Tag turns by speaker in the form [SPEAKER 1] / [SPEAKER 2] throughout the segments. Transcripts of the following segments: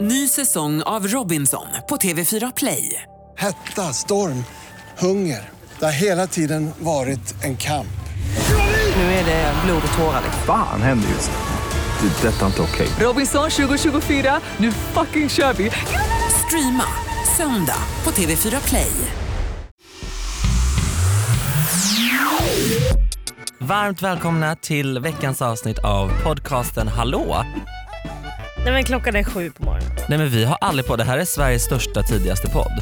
[SPEAKER 1] Ny säsong av Robinson på TV4 Play.
[SPEAKER 2] Hetta, storm, hunger. Det har hela tiden varit en kamp.
[SPEAKER 1] Nu är det blod och tårar. liksom.
[SPEAKER 3] Fan händer just nu. Det. är Detta är inte okej.
[SPEAKER 1] Robinson 2024, nu fucking kör vi! Streama söndag på TV4 Play.
[SPEAKER 4] Varmt välkomna till veckans avsnitt av podcasten Hallå!
[SPEAKER 5] Nej men klockan är sju på morgonen.
[SPEAKER 4] Nej men vi har aldrig på det här är Sveriges största tidigaste podd.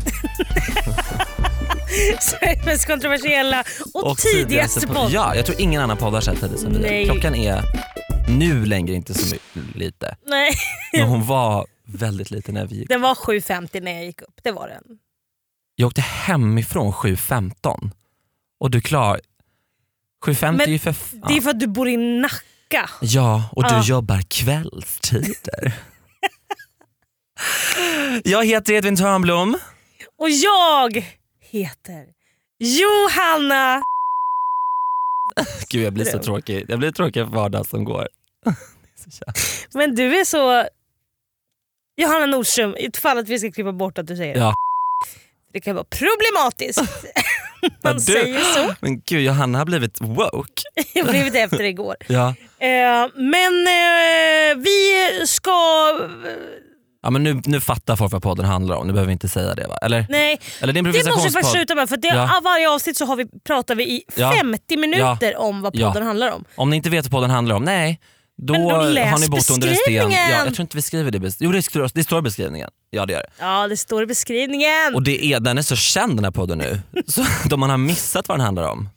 [SPEAKER 5] Sveriges mest kontroversiella och,
[SPEAKER 4] Och
[SPEAKER 5] tidigaste podd.
[SPEAKER 4] Ja, jag tror ingen annan podd har sett tidigt som vi.
[SPEAKER 5] Nej.
[SPEAKER 4] gör. Klockan är nu längre inte så my- lite.
[SPEAKER 5] Nej,
[SPEAKER 4] Men hon var väldigt liten när vi gick.
[SPEAKER 5] den var 7.50 när jag gick upp. Det var den.
[SPEAKER 4] Jag åkte hemifrån 7.15 och du klar... 7.50 är ju för fan...
[SPEAKER 5] Det är för att du bor i Nacka.
[SPEAKER 4] Ja, och du
[SPEAKER 5] Ja.
[SPEAKER 4] jobbar kvällstider. jag heter Edvin Törnblom.
[SPEAKER 5] Och jag heter Johanna.
[SPEAKER 4] Gud jag blir så tråkig. Jag blir tråkig för vardag som går. Det är så jävla-
[SPEAKER 5] Men du är så... Johanna Nordström, ifall att vi ska klippa bort att du säger
[SPEAKER 4] Ja.
[SPEAKER 5] det kan vara problematiskt. Man
[SPEAKER 4] du-
[SPEAKER 5] säger så.
[SPEAKER 4] Men gud Johanna har blivit woke.
[SPEAKER 5] Jag har blivit efter igår.
[SPEAKER 4] Ja.
[SPEAKER 5] Eh, men eh, vi ska...
[SPEAKER 4] Ja, men nu, nu fattar folk vad podden handlar om, nu behöver vi inte säga det va? Eller,
[SPEAKER 5] Nej,
[SPEAKER 4] eller det är en
[SPEAKER 5] Det måste vi
[SPEAKER 4] improvisationspodd.
[SPEAKER 5] faktiskt sluta med för det,
[SPEAKER 4] Ja.
[SPEAKER 5] av varje avsnitt så har vi, pratar vi i
[SPEAKER 4] Ja.
[SPEAKER 5] 50 minuter om vad
[SPEAKER 4] Ja.
[SPEAKER 5] podden handlar om.
[SPEAKER 4] Om ni inte vet vad podden handlar om, nej. Då,
[SPEAKER 5] Men då
[SPEAKER 4] har
[SPEAKER 5] läs
[SPEAKER 4] ni bott under en sten.
[SPEAKER 5] beskrivningen.
[SPEAKER 4] Ja, jag tror inte vi skriver det. bes- Jo det, står- det står i beskrivningen. Ja det gör det.
[SPEAKER 5] Ja det står i beskrivningen.
[SPEAKER 4] Och det är, den är så känd den här podden nu. Så om man har missat vad den handlar om,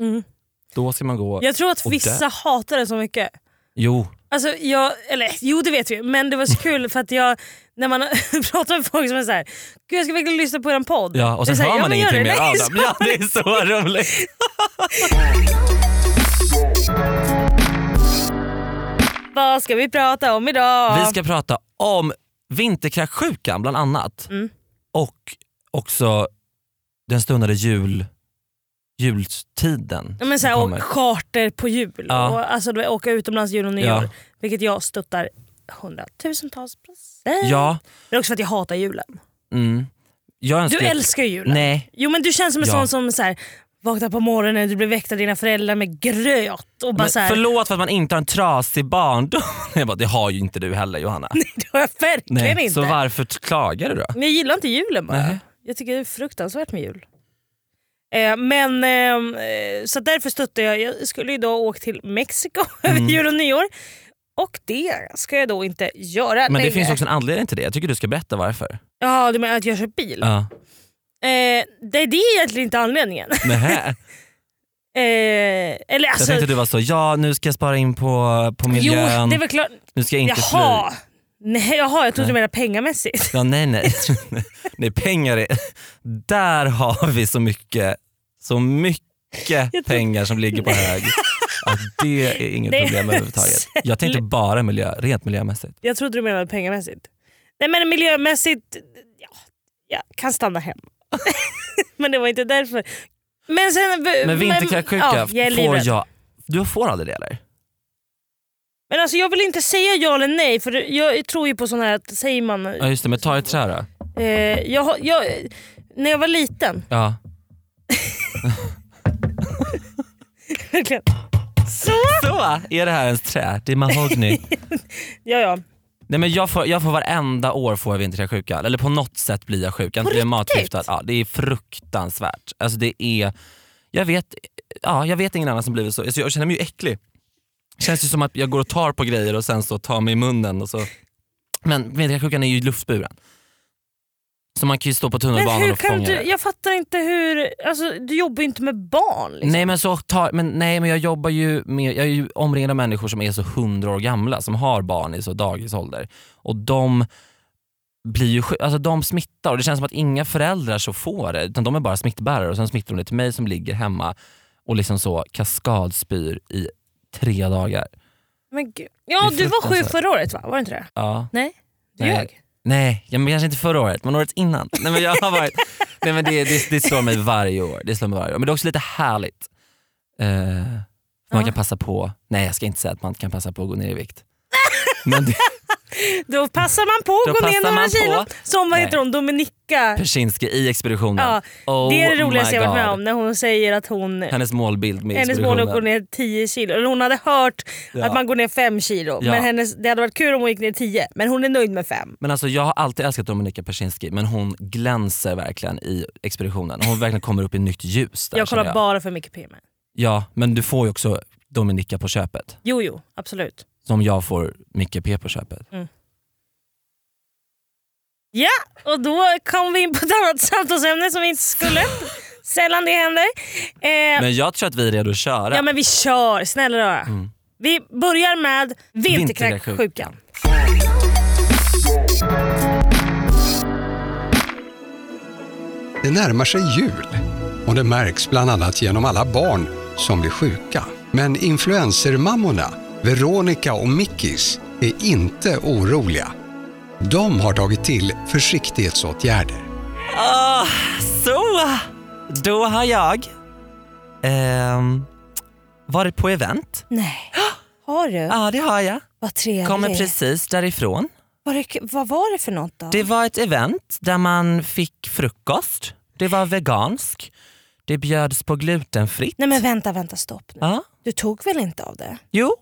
[SPEAKER 5] Mm.
[SPEAKER 4] då ska man gå...
[SPEAKER 5] Jag tror att
[SPEAKER 4] och
[SPEAKER 5] vissa hatar det så mycket.
[SPEAKER 4] Jo,
[SPEAKER 5] Alltså jag, eller jo det vet vi men det var så kul för att jag, när man pratar med folk som är såhär, gud jag ska verkligen lyssna på er podd.
[SPEAKER 4] ja, och sen
[SPEAKER 5] Jag säger,
[SPEAKER 4] hör man
[SPEAKER 5] men gör
[SPEAKER 4] ingenting mer
[SPEAKER 5] det. Nej,
[SPEAKER 4] av
[SPEAKER 5] så-
[SPEAKER 4] dem. Ja, det är så roligt.
[SPEAKER 5] Vad ska vi prata om idag?
[SPEAKER 4] Vi ska prata om vinterkräksjukan bland annat.
[SPEAKER 5] Mm.
[SPEAKER 4] Och också den stundade jul, jultiden.
[SPEAKER 5] Ja, men så här,
[SPEAKER 4] som
[SPEAKER 5] och
[SPEAKER 4] kommer.
[SPEAKER 5] charter på jul.
[SPEAKER 4] Ja.
[SPEAKER 5] Och, alltså, du vet, åka utomlands jul och nyår.
[SPEAKER 4] Ja.
[SPEAKER 5] Vilket jag stöttar hundratusentals procent.
[SPEAKER 4] ja,
[SPEAKER 5] Men också för att jag hatar julen.
[SPEAKER 4] mm. jag önskar
[SPEAKER 5] Du älskar ju julen.
[SPEAKER 4] Nej,
[SPEAKER 5] Jo men du känns som en
[SPEAKER 4] Ja.
[SPEAKER 5] sån som så här, vaknar på morgonen, du blir väckt av dina föräldrar med gröt och bara
[SPEAKER 4] men
[SPEAKER 5] så här,
[SPEAKER 4] förlåt för att man inte har en trasig barndom. Jag bara, det har ju inte du heller Johanna.
[SPEAKER 5] det har jag verkligen
[SPEAKER 4] Nej,
[SPEAKER 5] inte.
[SPEAKER 4] så varför t- klagar du då?
[SPEAKER 5] Men jag gillar inte julen bara.
[SPEAKER 4] Nej.
[SPEAKER 5] Jag tycker det är fruktansvärt med jul. Eh, men ehm, eh, Så därför stöttar jag. Jag skulle ju då åka till Mexiko över
[SPEAKER 4] Mm.
[SPEAKER 5] jul och nyår. Och det ska jag då inte göra
[SPEAKER 4] Men det
[SPEAKER 5] längre.
[SPEAKER 4] finns också en anledning till det. Jag tycker du ska berätta varför.
[SPEAKER 5] Ja, du menar att jag kör bil?
[SPEAKER 4] Ja.
[SPEAKER 5] Eh, det, det är egentligen inte anledningen.
[SPEAKER 4] Nähä.
[SPEAKER 5] Eh, eller
[SPEAKER 4] Jag
[SPEAKER 5] alltså,
[SPEAKER 4] tänkte du var så, ja nu ska jag spara in på, på
[SPEAKER 5] jo,
[SPEAKER 4] miljön,
[SPEAKER 5] det är väl klart.
[SPEAKER 4] nu ska jag inte fly.
[SPEAKER 5] Jaha. Nej, jaha, jag trodde du menade pengamässigt.
[SPEAKER 4] Ja, nej, nej. nej pengar är... Där har vi så mycket, så mycket pengar som ligger på hög. Ja, det är inget
[SPEAKER 5] Nej.
[SPEAKER 4] problem överhuvudtaget. Jag tänkte bara miljö, rent miljömässigt.
[SPEAKER 5] Jag trodde du menade pengamässigt. Nej men miljömässigt, ja, jag kan stanna hem. men det var inte därför. Men sen...
[SPEAKER 4] Men vinterkräksjuka
[SPEAKER 5] ja, jag är
[SPEAKER 4] får
[SPEAKER 5] livrädd.
[SPEAKER 4] jag... Du får aldrig det eller?
[SPEAKER 5] Men alltså jag vill inte säga ja eller nej för jag tror ju på sån här att säger man...
[SPEAKER 4] Ja just det, men ta i trä då.
[SPEAKER 5] Eh, jag, har- jag, när jag var liten,
[SPEAKER 4] Ja.
[SPEAKER 5] verkligen. Så!
[SPEAKER 4] Så, är det här ens trä? Det är mahogny.
[SPEAKER 5] Ja ja.
[SPEAKER 4] Nej men jag får, jag får varenda år får jag vinterkräksjuka, eller på något sätt blir jag sjuk. Antingen matförgiftad. Ja, det är fruktansvärt. Alltså det är, jag vet, ja, jag vet ingen annan som blivit så. Alltså jag känner mig ju äcklig. Känns ju som att jag går och tar på grejer och sen så tar mig i munnen. Och så. Men vinterkräksjukan är ju luftburen. Så man kan ju stå på
[SPEAKER 5] Men
[SPEAKER 4] tunnelbanan
[SPEAKER 5] hur
[SPEAKER 4] och fånga
[SPEAKER 5] kan du,
[SPEAKER 4] det.
[SPEAKER 5] jag fattar inte hur, alltså, du jobbar ju inte med barn. Liksom.
[SPEAKER 4] Nej men, så tar, men, nej men jag jobbar ju med, jag är ju omringad av människor som är så hundra år gamla, som har barn i så dagisålder. Och de blir ju sjuk- alltså de smittar och det känns som att inga föräldrar så får det, utan de är bara smittbärare och sen smittar de det till mig som ligger hemma och liksom så kaskadspyr i tre dagar.
[SPEAKER 5] Men gud. Ja
[SPEAKER 4] Det är
[SPEAKER 5] du var sju
[SPEAKER 4] fruktansvärt.
[SPEAKER 5] förra året va? Var det inte det?
[SPEAKER 4] Ja.
[SPEAKER 5] Nej? Du
[SPEAKER 4] Nej.
[SPEAKER 5] ljög?
[SPEAKER 4] Nej, ja, men kanske inte förra året, men året innan. Nej, men jag har varit, nej, men det, det, det slår mig varje år. Det slår mig varje år. Men det är också lite härligt. Eh, man
[SPEAKER 5] Ja.
[SPEAKER 4] kan passa på, nej jag ska inte säga att man kan passa på att gå ner i vikt. Men det,
[SPEAKER 5] Då passar man på
[SPEAKER 4] Då
[SPEAKER 5] att gå ner
[SPEAKER 4] passar
[SPEAKER 5] några
[SPEAKER 4] man
[SPEAKER 5] kilo.
[SPEAKER 4] på.
[SPEAKER 5] Som vad
[SPEAKER 4] Nej.
[SPEAKER 5] heter hon, Dominika.
[SPEAKER 4] Persinski i expeditionen.
[SPEAKER 5] Ja,
[SPEAKER 4] oh
[SPEAKER 5] det är det roligaste
[SPEAKER 4] my
[SPEAKER 5] jag varit med
[SPEAKER 4] God.
[SPEAKER 5] om när hon säger att hon
[SPEAKER 4] Hennes målbild med
[SPEAKER 5] hennes mål är att gå
[SPEAKER 4] expeditionen.
[SPEAKER 5] ner 10 kilo. Eller hon hade hört
[SPEAKER 4] Ja.
[SPEAKER 5] att man går ner 5 kilo.
[SPEAKER 4] Ja.
[SPEAKER 5] Men hennes, det hade varit kul om hon gick ner 10 men hon är nöjd med 5.
[SPEAKER 4] Men alltså jag har alltid älskat Dominika Persinski men hon glänser verkligen i expeditionen. Hon verkligen kommer upp i nytt ljus där.
[SPEAKER 5] Jag kollar
[SPEAKER 4] känner jag.
[SPEAKER 5] bara för mycket PM.
[SPEAKER 4] Ja, men du får ju också Dominika på köpet.
[SPEAKER 5] Jo, jo, absolut.
[SPEAKER 4] Som jag får Micke P på köpet.
[SPEAKER 5] Ja, och då kom vi in på ett annat samtalsämne som vi inte skulle. Sällan det händer. Eh,
[SPEAKER 4] Men jag tror att vi är redo att köra.
[SPEAKER 5] Ja men vi kör, snälla rara.
[SPEAKER 4] Mm.
[SPEAKER 5] Vi börjar med vinterkräksjukan.
[SPEAKER 6] Det närmar sig jul och det märks bland annat genom alla barn som blir sjuka. Men influencermammorna, Veronica och Mickis, är inte oroliga. De har tagit till försiktighetsåtgärder.
[SPEAKER 4] Ah, så, då har jag ehm, varit på event.
[SPEAKER 5] Nej. Har du?
[SPEAKER 4] Ja det har jag.
[SPEAKER 5] Vad trevligt.
[SPEAKER 4] Kommer precis därifrån.
[SPEAKER 5] Var det, vad var det för något då?
[SPEAKER 4] Det var ett event där man fick frukost. Det var vegansk. Det bjöds på glutenfritt.
[SPEAKER 5] Nej men vänta, vänta, stopp nu.
[SPEAKER 4] Ja.
[SPEAKER 5] Du tog väl inte av det?
[SPEAKER 4] Jo,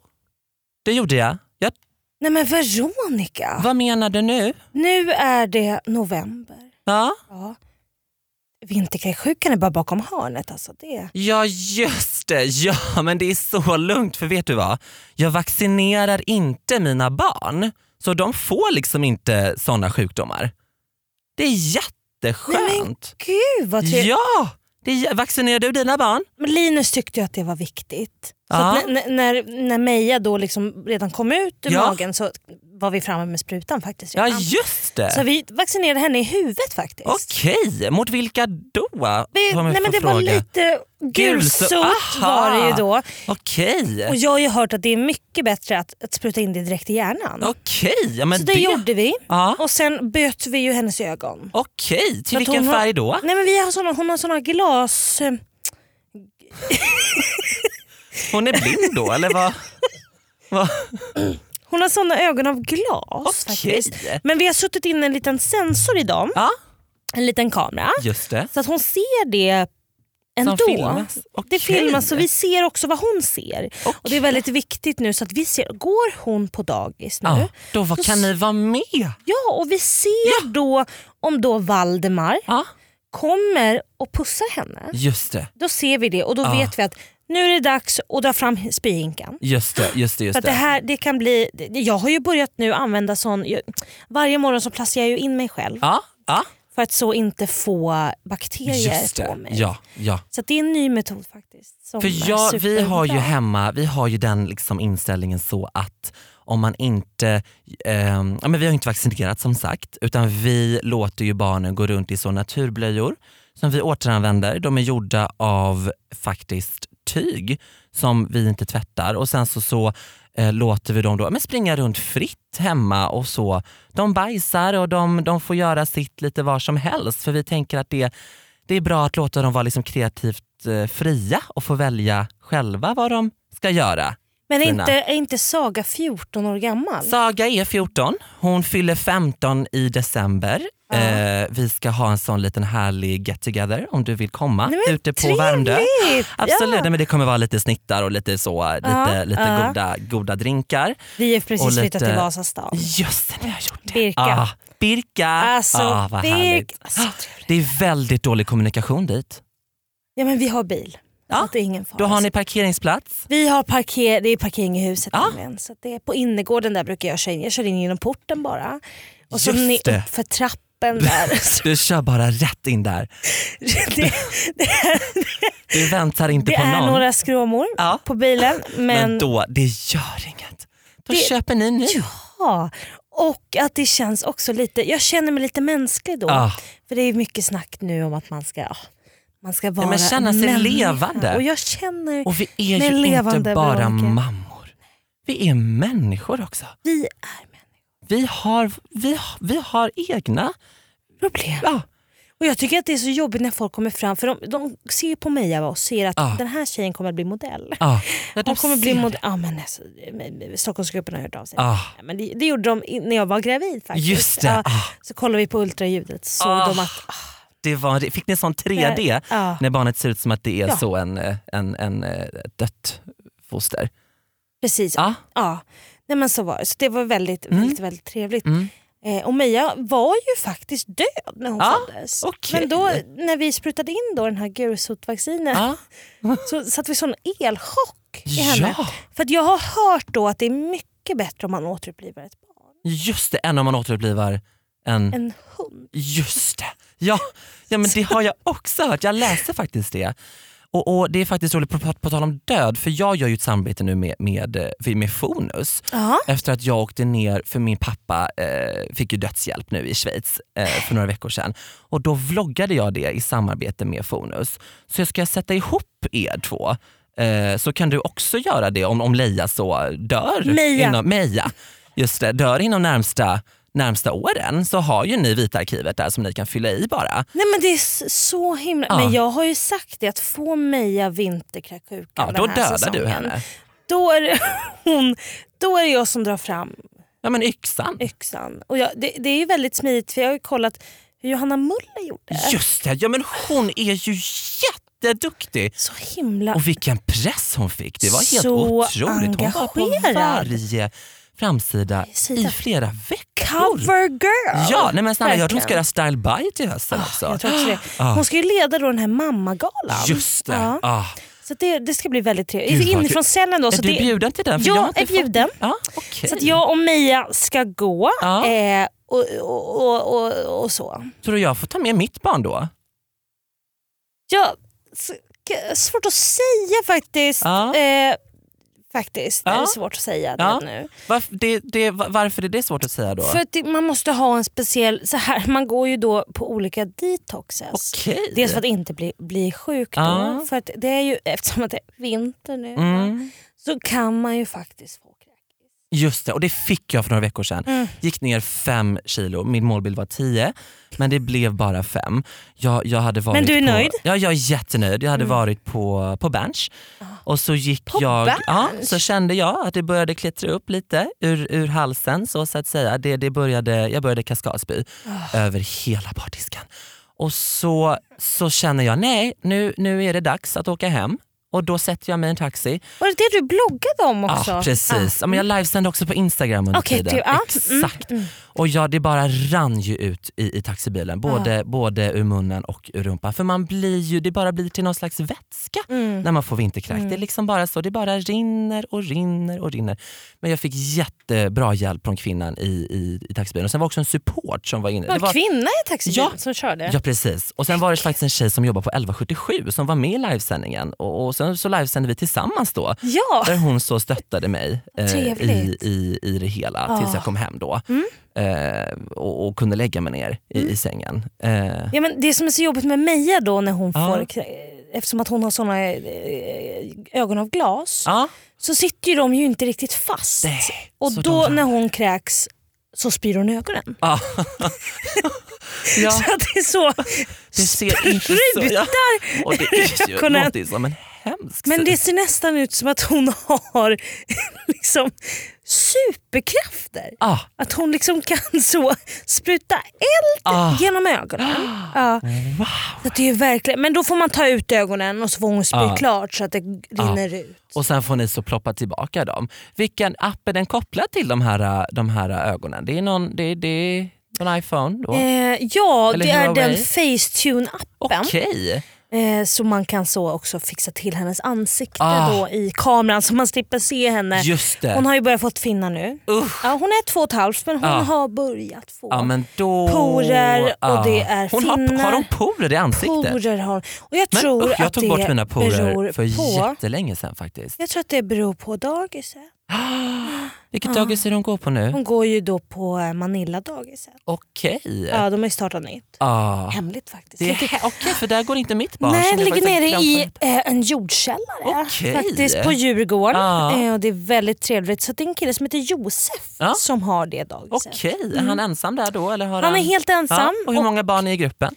[SPEAKER 4] det gjorde jag. jag.
[SPEAKER 5] Nej men Veronica,
[SPEAKER 4] Vad menar du nu?
[SPEAKER 5] nu är det november.
[SPEAKER 4] Ja,
[SPEAKER 5] Ja. Vinterkräksjukan är bara bakom hörnet alltså. Det.
[SPEAKER 4] ja just det. Ja, men det är så lugnt för vet du vad? Jag vaccinerar inte mina barn så de får liksom inte såna sjukdomar. Det är
[SPEAKER 5] Nej, men
[SPEAKER 4] jätteskönt.
[SPEAKER 5] gud vad trevligt.
[SPEAKER 4] Ja! Det är, jä- vaccinerar du dina barn?
[SPEAKER 5] Men Linus tyckte ju att det var viktigt. Så
[SPEAKER 4] Ja.
[SPEAKER 5] att när, när, när Meja då liksom redan kom ut ur
[SPEAKER 4] Ja.
[SPEAKER 5] magen så var vi framme med sprutan faktiskt.
[SPEAKER 4] Ja
[SPEAKER 5] redan.
[SPEAKER 4] just
[SPEAKER 5] Så
[SPEAKER 4] det.
[SPEAKER 5] vi vaccinerade henne i huvudet faktiskt.
[SPEAKER 4] Okej, mot vilka då?
[SPEAKER 5] Vi,
[SPEAKER 4] Om jag
[SPEAKER 5] nej, men
[SPEAKER 4] får
[SPEAKER 5] det var
[SPEAKER 4] fråga.
[SPEAKER 5] lite
[SPEAKER 4] Gulsot,
[SPEAKER 5] gulsot var
[SPEAKER 4] aha.
[SPEAKER 5] det ju då. Och
[SPEAKER 4] Okej,
[SPEAKER 5] jag har ju hört att det är mycket bättre att, att spruta in det direkt i hjärnan.
[SPEAKER 4] okej. Ja, men
[SPEAKER 5] så det, gjorde vi.
[SPEAKER 4] Ja.
[SPEAKER 5] Och sen böt vi ju hennes ögon.
[SPEAKER 4] Okej,
[SPEAKER 5] Så
[SPEAKER 4] till
[SPEAKER 5] att
[SPEAKER 4] vilken
[SPEAKER 5] hon har-
[SPEAKER 4] färg då?
[SPEAKER 5] Nej, men vi har såna, hon har såna glas... eh,
[SPEAKER 4] Hon är blind då eller vad? vad?
[SPEAKER 5] Hon har såna ögon av glas
[SPEAKER 4] Okej.
[SPEAKER 5] faktiskt. Men vi har suttit in en liten sensor i dem.
[SPEAKER 4] Ja,
[SPEAKER 5] en liten kamera.
[SPEAKER 4] just det.
[SPEAKER 5] Så att hon ser det ändå.
[SPEAKER 4] filmas?
[SPEAKER 5] Det
[SPEAKER 4] Okej.
[SPEAKER 5] filmas så vi ser också vad hon ser. Och Det är väldigt viktigt nu så att vi ser, går hon på dagis nu?
[SPEAKER 4] Ja, då
[SPEAKER 5] Så
[SPEAKER 4] vad kan
[SPEAKER 5] s-
[SPEAKER 4] ni vara med?
[SPEAKER 5] Ja, och vi ser då om då Valdemar
[SPEAKER 4] Ja,
[SPEAKER 5] kommer och pussar henne.
[SPEAKER 4] just det.
[SPEAKER 5] Då ser vi det och då
[SPEAKER 4] Ja.
[SPEAKER 5] vet vi att nu är det dags att dra fram spyhinkan.
[SPEAKER 4] Just det, just det,
[SPEAKER 5] För
[SPEAKER 4] just
[SPEAKER 5] att det
[SPEAKER 4] det.
[SPEAKER 5] här, det kan bli, det- jag har ju börjat nu använda sån, jag, varje morgon så placerar jag ju in mig själv
[SPEAKER 4] Ja, ja,
[SPEAKER 5] för att så inte få bakterier
[SPEAKER 4] just
[SPEAKER 5] på
[SPEAKER 4] det.
[SPEAKER 5] mig.
[SPEAKER 4] Ja, ja.
[SPEAKER 5] Så att det är en ny metod faktiskt. Som är
[SPEAKER 4] För jag, vi
[SPEAKER 5] superbra.
[SPEAKER 4] har ju hemma, vi har ju den liksom inställningen så att om man inte, ehm, ja men vi har ju inte vaccinerat som sagt, utan vi låter ju barnen gå runt i så naturblöjor som vi återanvänder. De är gjorda av faktiskt tyg som vi inte tvättar och sen så, så eh, låter vi dem då, men springa runt fritt hemma och så. De bajsar och de, de får göra sitt lite var som helst för vi tänker att det, det är bra att låta dem vara liksom kreativt eh, fria och få välja själva vad de ska göra.
[SPEAKER 5] Men är
[SPEAKER 4] Stina.
[SPEAKER 5] inte, är inte Saga 14 år gammal?
[SPEAKER 4] Saga är 14, hon fyller 15 i december. Eh, vi ska ha en sån liten härlig get together om du vill komma
[SPEAKER 5] Nej, men
[SPEAKER 4] ute på
[SPEAKER 5] trevligt!
[SPEAKER 4] Värmdö. Absolut,
[SPEAKER 5] Ja.
[SPEAKER 4] nej, men det kommer vara lite snittar och lite, så, eh, lite,
[SPEAKER 5] Ja,
[SPEAKER 4] lite
[SPEAKER 5] ja.
[SPEAKER 4] goda, goda drinkar.
[SPEAKER 5] Vi har precis
[SPEAKER 4] Och lite-
[SPEAKER 5] flyttat till Vasastan.
[SPEAKER 4] Just det, nu har jag gjort det.
[SPEAKER 5] Birka.
[SPEAKER 4] Ah, Birka!
[SPEAKER 5] Alltså,
[SPEAKER 4] ah, vad
[SPEAKER 5] Birk-
[SPEAKER 4] härligt.
[SPEAKER 5] Alltså, trevligt.
[SPEAKER 4] det är väldigt dålig kommunikation dit.
[SPEAKER 5] Ja men vi har bil. Så
[SPEAKER 4] Ja,
[SPEAKER 5] att det är ingen fara.
[SPEAKER 4] Då har ni parkeringsplats.
[SPEAKER 5] Vi har parker, det är parkering i huset
[SPEAKER 4] Ja.
[SPEAKER 5] nämligen. Så att det är på innergården där brukar jag köra in. Jag kör in genom porten bara. Och så
[SPEAKER 4] Just
[SPEAKER 5] ner
[SPEAKER 4] det.
[SPEAKER 5] upp för trappen där. Så
[SPEAKER 4] Du kör bara rätt in där.
[SPEAKER 5] det
[SPEAKER 4] Du väntar inte
[SPEAKER 5] det
[SPEAKER 4] på
[SPEAKER 5] är
[SPEAKER 4] någon.
[SPEAKER 5] några skråmor
[SPEAKER 4] Ja.
[SPEAKER 5] på bilen.
[SPEAKER 4] Men
[SPEAKER 5] Men,
[SPEAKER 4] då, det gör inget. Då
[SPEAKER 5] Det-
[SPEAKER 4] köper ni nu.
[SPEAKER 5] ja. Och att det känns också lite, jag känner mig lite mänsklig då.
[SPEAKER 4] Ah,
[SPEAKER 5] För det är mycket snack nu om att man ska, ja, man ska vara
[SPEAKER 4] men känna sig
[SPEAKER 5] människa.
[SPEAKER 4] levande.
[SPEAKER 5] Och jag känner,
[SPEAKER 4] och vi är
[SPEAKER 5] Men
[SPEAKER 4] ju inte
[SPEAKER 5] levande,
[SPEAKER 4] bara
[SPEAKER 5] Veronica.
[SPEAKER 4] mammor. Vi är människor också.
[SPEAKER 5] vi är människor.
[SPEAKER 4] Vi har, vi, har- vi har egna...
[SPEAKER 5] Problem.
[SPEAKER 4] Ja,
[SPEAKER 5] Och jag tycker att det är så jobbigt när folk kommer fram, för de, de ser på mig Eva, och ser att
[SPEAKER 4] Ja.
[SPEAKER 5] den här tjejen kommer att bli modell.
[SPEAKER 4] Ah.
[SPEAKER 5] Hon kommer bli modell. Ja, men alltså, eh, Stockholmsgruppen har hört av sig.
[SPEAKER 4] Ah.
[SPEAKER 5] Ja, men det, det gjorde de i- när jag var gravid faktiskt.
[SPEAKER 4] Just det,
[SPEAKER 5] Ja,
[SPEAKER 4] ah.
[SPEAKER 5] Så kollade vi på ultraljudet så såg
[SPEAKER 4] Ah.
[SPEAKER 5] de att ah,
[SPEAKER 4] Det var, fick ni en sån 3D
[SPEAKER 5] Ja.
[SPEAKER 4] när barnet ser ut som att det är
[SPEAKER 5] Ja.
[SPEAKER 4] så en, eh, en, en eh, ett dött foster?
[SPEAKER 5] precis,
[SPEAKER 4] Ja.
[SPEAKER 5] Ja, Nej, men så var det. Så det var väldigt, väldigt, väldigt trevligt.
[SPEAKER 4] Mm.
[SPEAKER 5] Eh, och Meja var ju faktiskt död när hon
[SPEAKER 4] Ja,
[SPEAKER 5] föddes.
[SPEAKER 4] okej.
[SPEAKER 5] Men då när vi sprutade in då den här gulsot-vaccinen
[SPEAKER 4] Ja.
[SPEAKER 5] så satte vi sån elchock i henne.
[SPEAKER 4] ja,
[SPEAKER 5] För att jag har hört då att det är mycket bättre om man återupplivar ett barn.
[SPEAKER 4] just det. Än om man återupplivar en...
[SPEAKER 5] En hund.
[SPEAKER 4] Just det. Ja, ja, men det har jag också hört. Jag läste faktiskt det. Och, och Det är faktiskt roligt, på, på, på tal om död, för jag gör ju ett samarbete nu med, med, eh, med Fonus.
[SPEAKER 5] Ja.
[SPEAKER 4] Efter att jag åkte ner, för min pappa eh, fick ju dödshjälp nu i Schweiz eh, för några veckor sedan. Och då vloggade jag det i samarbete med Fonus. Så jag ska sätta ihop er två. Eh, så kan du också göra det om, om Leia så dör.
[SPEAKER 5] Meja.
[SPEAKER 4] Inom, Meja. Just det, dör inom närmsta, närmsta åren så har ju ni Vita arkivet där som ni kan fylla i bara.
[SPEAKER 5] Nej men det är s- så himla...
[SPEAKER 4] Ja.
[SPEAKER 5] Men jag har ju sagt det att få Meja vinterkräksjukan
[SPEAKER 4] Ja,
[SPEAKER 5] den
[SPEAKER 4] då
[SPEAKER 5] här
[SPEAKER 4] dödar
[SPEAKER 5] säsongen,
[SPEAKER 4] du henne.
[SPEAKER 5] Då är, det, hon, då är det jag som drar fram
[SPEAKER 4] Ja men yxan.
[SPEAKER 5] yxan. Och jag, det, det är ju väldigt smidigt för jag har ju kollat hur Johanna Muller gjorde.
[SPEAKER 4] Just det, ja men hon är ju jätteduktig.
[SPEAKER 5] Så himla...
[SPEAKER 4] Och vilken press hon fick. Det var helt
[SPEAKER 5] Så
[SPEAKER 4] otroligt. Hon var på
[SPEAKER 5] engagerad.
[SPEAKER 4] varje framsida
[SPEAKER 5] Sida.
[SPEAKER 4] i flera veckor.
[SPEAKER 5] Cover girl!
[SPEAKER 4] Ja, nej men snälla jag tror hon
[SPEAKER 5] Verkligen.
[SPEAKER 4] ska göra Style by till hösten också.
[SPEAKER 5] Jag tror också det.
[SPEAKER 4] Ah.
[SPEAKER 5] Hon ska ju leda då den här mammagalan.
[SPEAKER 4] Just det.
[SPEAKER 5] Ja.
[SPEAKER 4] Ah.
[SPEAKER 5] Så det, det ska bli väldigt
[SPEAKER 4] Gud,
[SPEAKER 5] trevligt.
[SPEAKER 4] vad
[SPEAKER 5] Inifrån cellen då.
[SPEAKER 4] Är
[SPEAKER 5] Så
[SPEAKER 4] du
[SPEAKER 5] det,
[SPEAKER 4] bjuden till den? För
[SPEAKER 5] Jag
[SPEAKER 4] har inte
[SPEAKER 5] är bjuden.
[SPEAKER 4] Fått... Ja, okej.
[SPEAKER 5] Så att jag och Mia ska gå
[SPEAKER 4] Ja.
[SPEAKER 5] eh, och, och, och, och, och så.
[SPEAKER 4] Tror du jag får ta med mitt barn då?
[SPEAKER 5] Jag s- k- svårt att säga faktiskt.
[SPEAKER 4] Ja.
[SPEAKER 5] Eh, faktiskt. Det är
[SPEAKER 4] Ja.
[SPEAKER 5] svårt att säga det
[SPEAKER 4] Ja.
[SPEAKER 5] nu.
[SPEAKER 4] Varf- det, det, va- varför är det svårt att säga då?
[SPEAKER 5] För att det, man måste ha en speciell, så här, man går ju då på olika detoxes.
[SPEAKER 4] Okej.
[SPEAKER 5] Dels för att inte bli, bli sjuk då,
[SPEAKER 4] Ja.
[SPEAKER 5] för att det är ju, eftersom att det är vinter nu
[SPEAKER 4] Mm.
[SPEAKER 5] så kan man ju faktiskt få kräk.
[SPEAKER 4] Just det, och det fick jag för några veckor sedan.
[SPEAKER 5] Mm.
[SPEAKER 4] Gick ner fem kilo, min målbild var tio, men det blev bara fem. Jag, jag hade varit
[SPEAKER 5] Men du är
[SPEAKER 4] på,
[SPEAKER 5] nöjd? Mm.
[SPEAKER 4] Ja, jag är jättenöjd. Jag hade varit på, på bench. Och så gick
[SPEAKER 5] Ah. På
[SPEAKER 4] jag, Ja,
[SPEAKER 5] Berns?
[SPEAKER 4] så kände jag att det började klättra upp lite ur, ur halsen så, så att säga. Det, det började, jag började kaskadspy
[SPEAKER 5] Ah.
[SPEAKER 4] över hela bardisken. Och så, så känner jag, nej nu, nu är det dags att åka hem. Och då sätter jag mig i en taxi
[SPEAKER 5] Var det det du bloggade om också? Ah,
[SPEAKER 4] Ja, precis. Ja, men jag livesände också på Instagram under
[SPEAKER 5] Alltså, Mm. Okej,
[SPEAKER 4] tiden.
[SPEAKER 5] du- ja. Mm,
[SPEAKER 4] Exakt. Och ja, det bara rann ju ut i, i taxibilen, både, både ur munnen och ur rumpan. För man blir ju, det bara blir till någon slags vätska
[SPEAKER 5] Mm.
[SPEAKER 4] när man får vinterkräk. Det är liksom bara så, det bara rinner och rinner och rinner. Men jag fick jättebra hjälp från kvinnan i, i, i taxibilen. Och sen var också en support som var inne.
[SPEAKER 5] Det var en kvinna i taxibilen
[SPEAKER 4] Ja.
[SPEAKER 5] som körde?
[SPEAKER 4] Ja precis. Och sen var det faktiskt en tjej som jobbar på 1177 som var med i livesändningen och, och sen så livesände vi tillsammans då.
[SPEAKER 5] Ja.
[SPEAKER 4] Där hon så stöttade mig eh, i,
[SPEAKER 5] Trevligt. Mm.
[SPEAKER 4] i, i det hela tills jag kom hem då. Eh, och, och kunde lägga mig ner i, i sängen. Eh,
[SPEAKER 5] Ja, men det som är så jobbigt med Meja då när hon
[SPEAKER 4] Ja.
[SPEAKER 5] får, krä- eftersom att hon har såna eh, ögon av glas,
[SPEAKER 4] ja,
[SPEAKER 5] så sitter ju de ju inte riktigt fast.
[SPEAKER 4] Nej,
[SPEAKER 5] och
[SPEAKER 4] så
[SPEAKER 5] då
[SPEAKER 4] de-
[SPEAKER 5] när hon kräks så spyr hon i ögonen.
[SPEAKER 4] ja. ja,
[SPEAKER 5] Så att det är så.
[SPEAKER 4] det ser inte så... Ja. Och det är ju,
[SPEAKER 5] ögonen.
[SPEAKER 4] låter ju som en hemsk
[SPEAKER 5] Men det
[SPEAKER 4] syn.
[SPEAKER 5] ser nästan ut som att hon har liksom superkrafter.
[SPEAKER 4] Ah,
[SPEAKER 5] Att hon liksom kan så spruta eld
[SPEAKER 4] Ah.
[SPEAKER 5] genom ögonen. Ja.
[SPEAKER 4] wow.
[SPEAKER 5] Så att det är verkligen, men då får man ta ut ögonen och så får hon spy
[SPEAKER 4] Ah.
[SPEAKER 5] klart så att det rinner ut.
[SPEAKER 4] Och sen får ni så ploppa tillbaka dem. Vilken app är den kopplad till de här, de här ögonen? Det är någon, det, det är någon iPhone då?
[SPEAKER 5] Eh, ja,
[SPEAKER 4] Eller
[SPEAKER 5] det är den
[SPEAKER 4] Huawei.
[SPEAKER 5] Facetune-appen.
[SPEAKER 4] Okej.
[SPEAKER 5] Eh, så man kan så också fixa till hennes ansikte
[SPEAKER 4] Ah.
[SPEAKER 5] då i kameran så man slipper se henne.
[SPEAKER 4] Just det.
[SPEAKER 5] Hon har ju börjat få finna nu.
[SPEAKER 4] Usch.
[SPEAKER 5] Ja, hon är två och ett halvt men hon
[SPEAKER 4] Ah.
[SPEAKER 5] har börjat få
[SPEAKER 4] Ja, men då...
[SPEAKER 5] Porer och
[SPEAKER 4] Ja.
[SPEAKER 5] det är
[SPEAKER 4] hon har,
[SPEAKER 5] finnar.
[SPEAKER 4] har hon porer i ansiktet?
[SPEAKER 5] porer. Har hon. Och jag
[SPEAKER 4] Men
[SPEAKER 5] tror
[SPEAKER 4] usch, jag
[SPEAKER 5] att
[SPEAKER 4] tog
[SPEAKER 5] det
[SPEAKER 4] bort mina
[SPEAKER 5] beror
[SPEAKER 4] porer för
[SPEAKER 5] på,
[SPEAKER 4] jättelänge sedan faktiskt.
[SPEAKER 5] Jag tror att det beror på dagiset.
[SPEAKER 4] Vilket dagis är det hon går på nu?
[SPEAKER 5] Ah. Hon går ju då på eh, Manilla-dagiset.
[SPEAKER 4] Okej.
[SPEAKER 5] Ja, de har ju startat nytt.
[SPEAKER 4] Eh. Ah.
[SPEAKER 5] Hemligt faktiskt.
[SPEAKER 4] Det är
[SPEAKER 5] Ligger-
[SPEAKER 4] he- Okej, för där går inte mitt barn.
[SPEAKER 5] Nej,
[SPEAKER 4] som
[SPEAKER 5] det
[SPEAKER 4] jag
[SPEAKER 5] ligger
[SPEAKER 4] faktiskt
[SPEAKER 5] nere
[SPEAKER 4] har glömt vad
[SPEAKER 5] i eh, en jordkällare
[SPEAKER 4] Okej.
[SPEAKER 5] faktiskt på Djurgården.
[SPEAKER 4] Ja.
[SPEAKER 5] Eh, och det är väldigt trevligt. Så det är en kille som heter Josef
[SPEAKER 4] Ja.
[SPEAKER 5] som har det dagiset.
[SPEAKER 4] Okej, är han ensam där då? Eller har
[SPEAKER 5] Mm. Han är helt ensam
[SPEAKER 4] Ja, och hur
[SPEAKER 5] och-
[SPEAKER 4] många barn är i gruppen?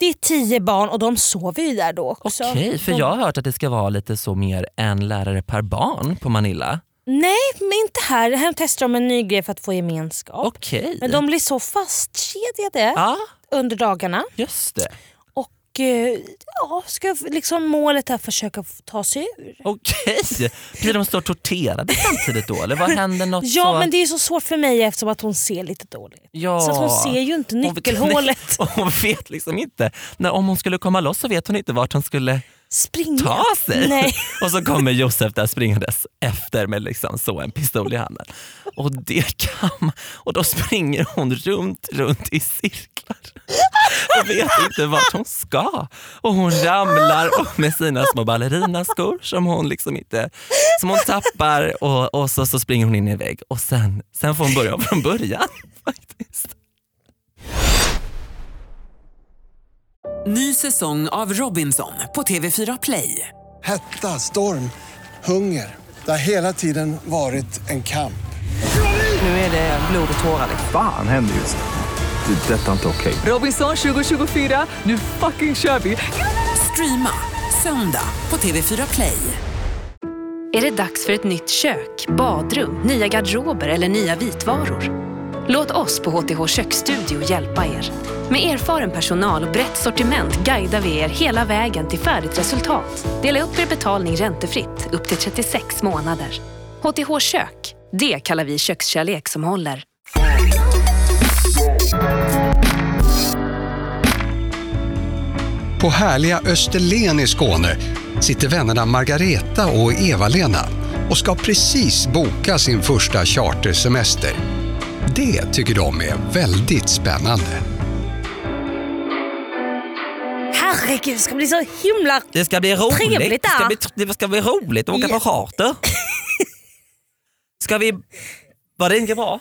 [SPEAKER 5] Det är tio barn och de sover ju där då också.
[SPEAKER 4] Okej, för
[SPEAKER 5] de...
[SPEAKER 4] jag har hört att det ska vara lite så mer en lärare per barn på Manilla.
[SPEAKER 5] Nej, men inte här. Det Här testar de en ny grej för att få gemenskap.
[SPEAKER 4] Okej.
[SPEAKER 5] Men de blir så fastkedjade
[SPEAKER 4] Ja,
[SPEAKER 5] under dagarna.
[SPEAKER 4] just det.
[SPEAKER 5] Och eh, ja, ska liksom målet är att försöka få ta sig ur.
[SPEAKER 4] Okej. Blir de så torterade samtidigt då? Eller vad händer något
[SPEAKER 5] Ja
[SPEAKER 4] så...
[SPEAKER 5] men det är så svårt för mig eftersom att hon ser lite dåligt.
[SPEAKER 4] Ja.
[SPEAKER 5] Så att hon ser ju inte
[SPEAKER 4] Hon vet-
[SPEAKER 5] nyckelhålet.
[SPEAKER 4] Och hon vet liksom inte. När, om hon skulle komma loss så vet hon inte vart hon skulle
[SPEAKER 5] Springa.
[SPEAKER 4] ta sig.
[SPEAKER 5] Nej.
[SPEAKER 4] Och så kommer Josef där springandes efter med liksom så en pistol i handen. Och det kan man- Och då springer hon runt, runt i cirklar och vet inte vart hon ska. Och hon ramlar och med sina små ballerinaskor som hon liksom inte som hon tappar och, och så, så springer hon in i en vägg och sen, sen får hon börja om från början. faktiskt.
[SPEAKER 1] Ny säsong av Robinson på TV4 Play.
[SPEAKER 2] Hetta, storm, hunger. Det har hela tiden varit en kamp.
[SPEAKER 7] Nu är det blod och tårar.
[SPEAKER 3] Fan händer just det. Det är detta inte okej.
[SPEAKER 1] Robinson 2024, nu fucking kör vi! Streama söndag på TV4 Play.
[SPEAKER 8] Är det dags för ett nytt kök, badrum, nya garderober eller nya vitvaror? Låt oss på HTH Köksstudio hjälpa er. Med erfaren personal och brett sortiment guidar vi er hela vägen till färdigt resultat. Dela upp er betalning räntefritt upp till 36 månader. HTH Kök, det kallar vi kökskärlek som håller.
[SPEAKER 6] På härliga Österlen i Skåne sitter vännerna Margareta och Eva-Lena och ska precis boka sin första chartersemester. Det tycker de är väldigt spännande.
[SPEAKER 5] Herregud, det ska bli så himla...
[SPEAKER 4] Det ska bli roligt.
[SPEAKER 5] Trevligt,
[SPEAKER 4] det, ska
[SPEAKER 5] ja.
[SPEAKER 4] bli, det ska bli roligt att åka på charter. Ska vi... Var det inte bra?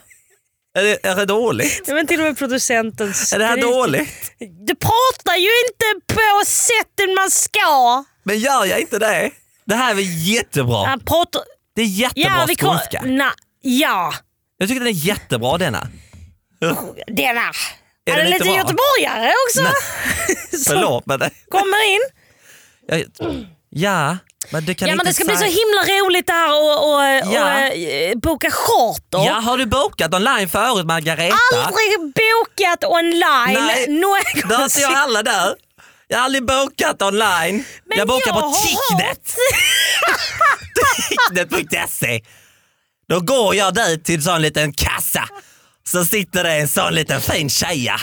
[SPEAKER 4] Är det, är det dåligt?
[SPEAKER 5] Nej, men till och med producenten
[SPEAKER 4] Är det här
[SPEAKER 5] skriker.
[SPEAKER 4] dåligt?
[SPEAKER 5] Du pratar ju inte på sättet man ska.
[SPEAKER 4] Men gör jag inte det? Det här är väl jättebra?
[SPEAKER 5] Han pratar...
[SPEAKER 4] Det är jättebra
[SPEAKER 5] kom-
[SPEAKER 4] skånska.
[SPEAKER 5] Na, ja,
[SPEAKER 4] Jag tycker den är jättebra denna.
[SPEAKER 5] den här.
[SPEAKER 4] Är
[SPEAKER 5] Är det
[SPEAKER 4] den inte
[SPEAKER 5] lite
[SPEAKER 4] bra?
[SPEAKER 5] göteborgare också?
[SPEAKER 4] Nej.
[SPEAKER 5] som
[SPEAKER 4] Förlåt men... det-
[SPEAKER 5] Kommer in.
[SPEAKER 4] jag- Ja, men du kan
[SPEAKER 5] Ja
[SPEAKER 4] inte
[SPEAKER 5] men det ska bli så
[SPEAKER 4] säga-
[SPEAKER 5] himla roligt det här och, och,
[SPEAKER 4] Ja.
[SPEAKER 5] och eh, boka charter.
[SPEAKER 4] Ja, har du bokat online förut Margareta?
[SPEAKER 5] Aldrig bokat online.
[SPEAKER 4] Nej,
[SPEAKER 5] Någonsin.
[SPEAKER 4] Då ser jag alla där. Jag har aldrig bokat online.
[SPEAKER 5] Men
[SPEAKER 4] jag bokar
[SPEAKER 5] jag
[SPEAKER 4] på
[SPEAKER 5] har
[SPEAKER 4] Ticknet. Ticknet.se. Då går jag dit till en sån liten kassa. Så sitter det en sån liten fin tjeja.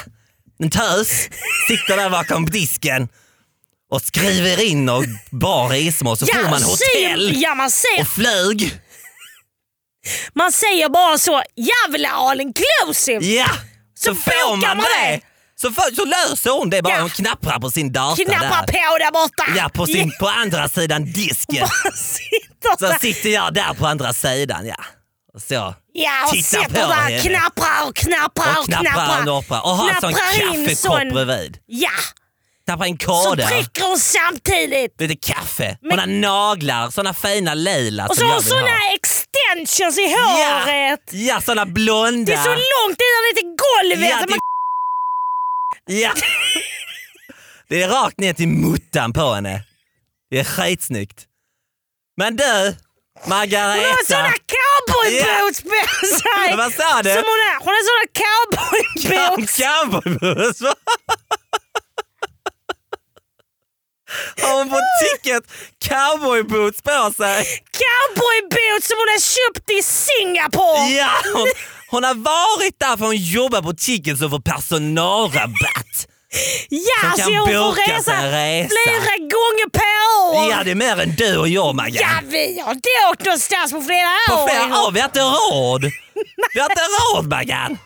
[SPEAKER 4] En tös. Sitter där bakom disken. Och skriver in och bar resmål så får man hotell.
[SPEAKER 5] Säger, ja, man, säger,
[SPEAKER 4] Och flög.
[SPEAKER 5] man säger bara så, jag vill ha all inclusive.
[SPEAKER 4] Ja, så,
[SPEAKER 5] Så
[SPEAKER 4] får
[SPEAKER 5] bokar
[SPEAKER 4] man
[SPEAKER 5] man
[SPEAKER 4] det.
[SPEAKER 5] det.
[SPEAKER 4] Så, får, så löser hon det bara.
[SPEAKER 5] Ja.
[SPEAKER 4] Hon knappar på sin dator
[SPEAKER 5] Knappar
[SPEAKER 4] där.
[SPEAKER 5] på där borta.
[SPEAKER 4] Ja, på, sin, på andra sidan disken.
[SPEAKER 5] Ja, sitter
[SPEAKER 4] Så
[SPEAKER 5] där.
[SPEAKER 4] sitter jag där på andra sidan. Ja. Och Så.
[SPEAKER 5] Ja, och
[SPEAKER 4] Titta
[SPEAKER 5] sitter
[SPEAKER 4] på
[SPEAKER 5] där
[SPEAKER 4] henne.
[SPEAKER 5] knappar och knappar
[SPEAKER 4] Och knappar en opera. Och har en sån
[SPEAKER 5] Knappar in sån-
[SPEAKER 4] kaffekopp bredvid.
[SPEAKER 5] Ja,
[SPEAKER 4] Knappar en
[SPEAKER 5] så
[SPEAKER 4] kåda.
[SPEAKER 5] prickar hon samtidigt.
[SPEAKER 4] Lite kaffe.
[SPEAKER 5] Men-
[SPEAKER 4] Hon har naglar. Såna fina lila
[SPEAKER 5] Och så
[SPEAKER 4] som
[SPEAKER 5] har
[SPEAKER 4] jag
[SPEAKER 5] hon
[SPEAKER 4] vill ha.
[SPEAKER 5] såna extensions i håret.
[SPEAKER 4] Ja, ja såna blonda.
[SPEAKER 5] Det är så långt ner till golvet.
[SPEAKER 4] Ja,
[SPEAKER 5] så
[SPEAKER 4] det-
[SPEAKER 5] man-
[SPEAKER 4] Ja. Det är rakt ner till muttan på henne. Det är skitsnyggt. Men du,
[SPEAKER 5] Hon har
[SPEAKER 4] Margareta.
[SPEAKER 5] såna cowboyboots på sig.
[SPEAKER 4] Ja, vad sa du?
[SPEAKER 5] Som hon, har, hon har såna cowboyboots.
[SPEAKER 4] Cowboybuss! Har hon på ticket cowboyboots på sig?
[SPEAKER 5] Cowboyboots som hon har köpt i Singapore.
[SPEAKER 4] Ja, hon, hon har varit där för hon jobbar på ticket som får personalrabatt.
[SPEAKER 5] Ja,
[SPEAKER 4] Som
[SPEAKER 5] så
[SPEAKER 4] kan
[SPEAKER 5] hon får
[SPEAKER 4] boka
[SPEAKER 5] resa,
[SPEAKER 4] sig en resa.
[SPEAKER 5] flera gånger per år.
[SPEAKER 4] Ja, det är mer än du och jag
[SPEAKER 5] Ja,
[SPEAKER 4] Maggan.
[SPEAKER 5] vi har inte åkt någonstans på flera år.
[SPEAKER 4] På flera år, vi har inte råd. Vi har inte råd Maggan.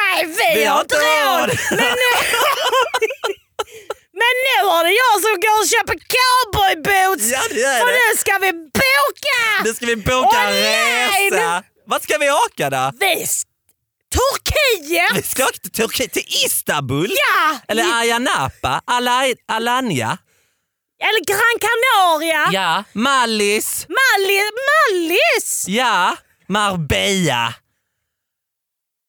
[SPEAKER 5] Nej, vi, har inte råd. Men nu har det jag som går och köper cowboyboots.
[SPEAKER 4] Ja, det är
[SPEAKER 5] För
[SPEAKER 4] det.
[SPEAKER 5] nu ska vi boka!
[SPEAKER 4] Nu ska vi boka en
[SPEAKER 5] Online!
[SPEAKER 4] resa. Vad ska vi åka då?
[SPEAKER 5] Vi... s- Turkiet!
[SPEAKER 4] Vi ska åka till Turkiet, till Istanbul.
[SPEAKER 5] Ja!
[SPEAKER 4] Eller
[SPEAKER 5] Eller,
[SPEAKER 4] Ayia Napa, Alai- Alanya.
[SPEAKER 5] eller Gran Canaria!
[SPEAKER 4] Ja. Mallis.
[SPEAKER 5] Malli, Mallis!
[SPEAKER 4] Ja. Marbella.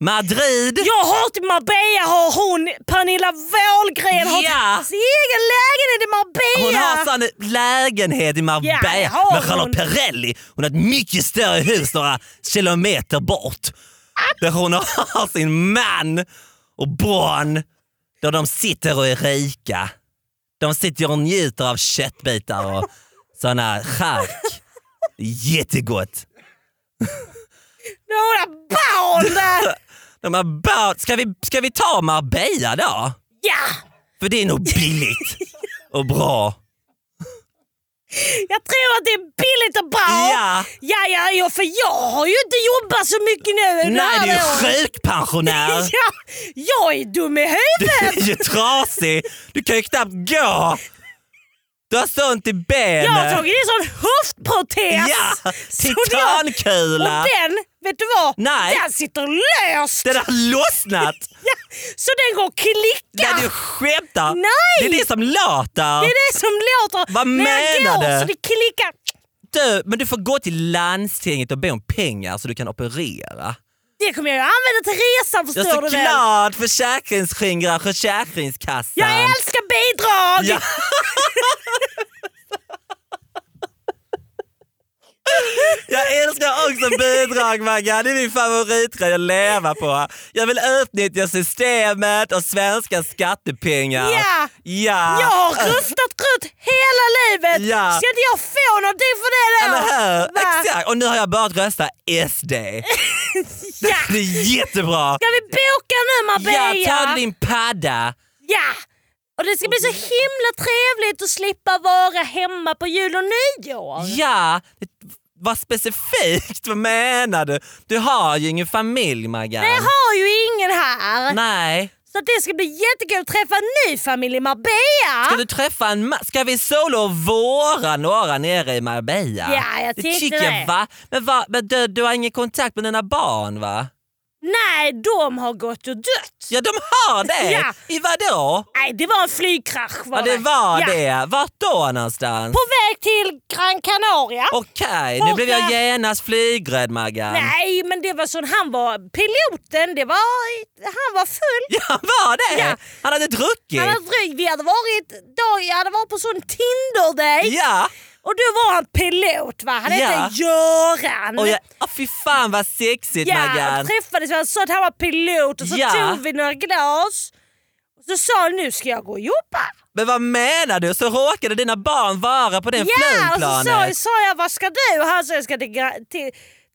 [SPEAKER 4] Madrid!
[SPEAKER 5] Jag har till Marbella har hon, Pernilla Wahlgren har
[SPEAKER 4] Ja.
[SPEAKER 5] sin egen lägenhet i Marbella.
[SPEAKER 4] Hon har sån lägenhet i Marbella
[SPEAKER 5] Ja, har
[SPEAKER 4] med Charlotte
[SPEAKER 5] hon.
[SPEAKER 4] Perrelli. Hon har ett mycket större hus några kilometer bort. Där hon har sin man och barn. Där de sitter och är rika. De sitter och njuter av köttbitar och såna chark. Jättegott.
[SPEAKER 5] Några barn där.
[SPEAKER 4] De har bara, ska, vi, ska vi ta Marbella då?
[SPEAKER 5] Ja,
[SPEAKER 4] För det är nog billigt och bra.
[SPEAKER 5] jag tror att det är billigt och bra.
[SPEAKER 4] Ja.
[SPEAKER 5] ja, ja, ja för jag har ju inte jobbat så mycket nu. under
[SPEAKER 4] Nej,
[SPEAKER 5] det
[SPEAKER 4] du
[SPEAKER 5] här
[SPEAKER 4] är
[SPEAKER 5] året.
[SPEAKER 4] ju sjukpensionär.
[SPEAKER 5] Ja, jag är dum i
[SPEAKER 4] Du
[SPEAKER 5] huvudet.
[SPEAKER 4] är ju trasig. Du kan ju knappt gå. Du har sånt i
[SPEAKER 5] Jag har
[SPEAKER 4] benen.
[SPEAKER 5] tagit en sån höftprotes.
[SPEAKER 4] Ja,
[SPEAKER 5] Så det-
[SPEAKER 4] titankula.
[SPEAKER 5] Och den, vet du vad?
[SPEAKER 4] Nej.
[SPEAKER 5] Den sitter löst.
[SPEAKER 4] Den har lossnat.
[SPEAKER 5] Ja, så den går att klicka.
[SPEAKER 4] Nej, du skämtar.
[SPEAKER 5] Nej.
[SPEAKER 4] Det är det som låter.
[SPEAKER 5] Det är det som låter
[SPEAKER 4] Vad
[SPEAKER 5] när jag
[SPEAKER 4] menar
[SPEAKER 5] går
[SPEAKER 4] du?
[SPEAKER 5] så det klickar.
[SPEAKER 4] Du, men du får gå till landstinget och be om pengar så du kan operera.
[SPEAKER 5] Det kommer jag ju använda till resan
[SPEAKER 4] Jag
[SPEAKER 5] förstår
[SPEAKER 4] är
[SPEAKER 5] du
[SPEAKER 4] så
[SPEAKER 5] väl?
[SPEAKER 4] glad försäkringsskingrar Försäkringskassan.
[SPEAKER 5] Jag älskar bidrag!
[SPEAKER 4] Ja. Jag älskar också bidrag Maggan, det är min favoritgrej att leva på. Jag vill utnyttja systemet och svenska skattepengar.
[SPEAKER 5] Ja.
[SPEAKER 4] Ja!
[SPEAKER 5] Jag har rustat runt hela livet!
[SPEAKER 4] Ja.
[SPEAKER 5] Ska inte jag få någonting för det då?
[SPEAKER 4] Eller hur?
[SPEAKER 5] Va?
[SPEAKER 4] Exakt! Och nu har jag börjat rösta SD.
[SPEAKER 5] Ja.
[SPEAKER 4] Det är jättebra!
[SPEAKER 5] Ska vi boka nu Marbella?
[SPEAKER 4] Ja, ta din padda.
[SPEAKER 5] Ja! Och det ska bli så himla trevligt att slippa vara hemma på jul och nyår.
[SPEAKER 4] Ja, vad specifikt, vad menar du? Du har ju ingen familj Maggan.
[SPEAKER 5] Jag har ju ingen här.
[SPEAKER 4] Nej.
[SPEAKER 5] Så att det ska bli jättekul att träffa en ny familj i Marbella.
[SPEAKER 4] Ska du träffa en man? Ska vi solo och våra några nere i Marbella?
[SPEAKER 5] Ja, jag
[SPEAKER 4] det
[SPEAKER 5] tyckte
[SPEAKER 4] tycker
[SPEAKER 5] det.
[SPEAKER 4] jag. Va? Men, va? men du, du har ingen kontakt med dina barn va?
[SPEAKER 5] Nej, de har gått och dött.
[SPEAKER 4] Ja, de har det!
[SPEAKER 5] Ja.
[SPEAKER 4] I vadå?
[SPEAKER 5] Nej, det var en flygkrasch. Var
[SPEAKER 4] Ja, det var
[SPEAKER 5] Ja.
[SPEAKER 4] det. Vart då någonstans?
[SPEAKER 5] På väg till Gran Canaria.
[SPEAKER 4] Okej,
[SPEAKER 5] Borta.
[SPEAKER 4] nu blev jag genast flygrädd Maggan.
[SPEAKER 5] Nej, men det var sån, han var piloten, det var, han var full.
[SPEAKER 4] Ja, var det?
[SPEAKER 5] Ja.
[SPEAKER 4] Han hade druckit.
[SPEAKER 5] Han hade, dryg- vi hade varit, dag, jag hade varit på sån Tinder-date
[SPEAKER 4] Ja,
[SPEAKER 5] och då var han pilot va, han
[SPEAKER 4] Ja.
[SPEAKER 5] hette Göran.
[SPEAKER 4] och jag, oh, fy fan vad sexigt
[SPEAKER 5] Mm. ja,
[SPEAKER 4] Maggan.
[SPEAKER 5] träffades, jag sa att han var pilot och så
[SPEAKER 4] Ja.
[SPEAKER 5] tog vi några glas. Och så sa han nu ska jag gå och jobba.
[SPEAKER 4] Men vad menar du? Så råkade dina barn vara på den
[SPEAKER 5] Ja, och så
[SPEAKER 4] flygplanet?
[SPEAKER 5] sa, sa jag vad ska du? Och han sa jag ska till, Gra- till,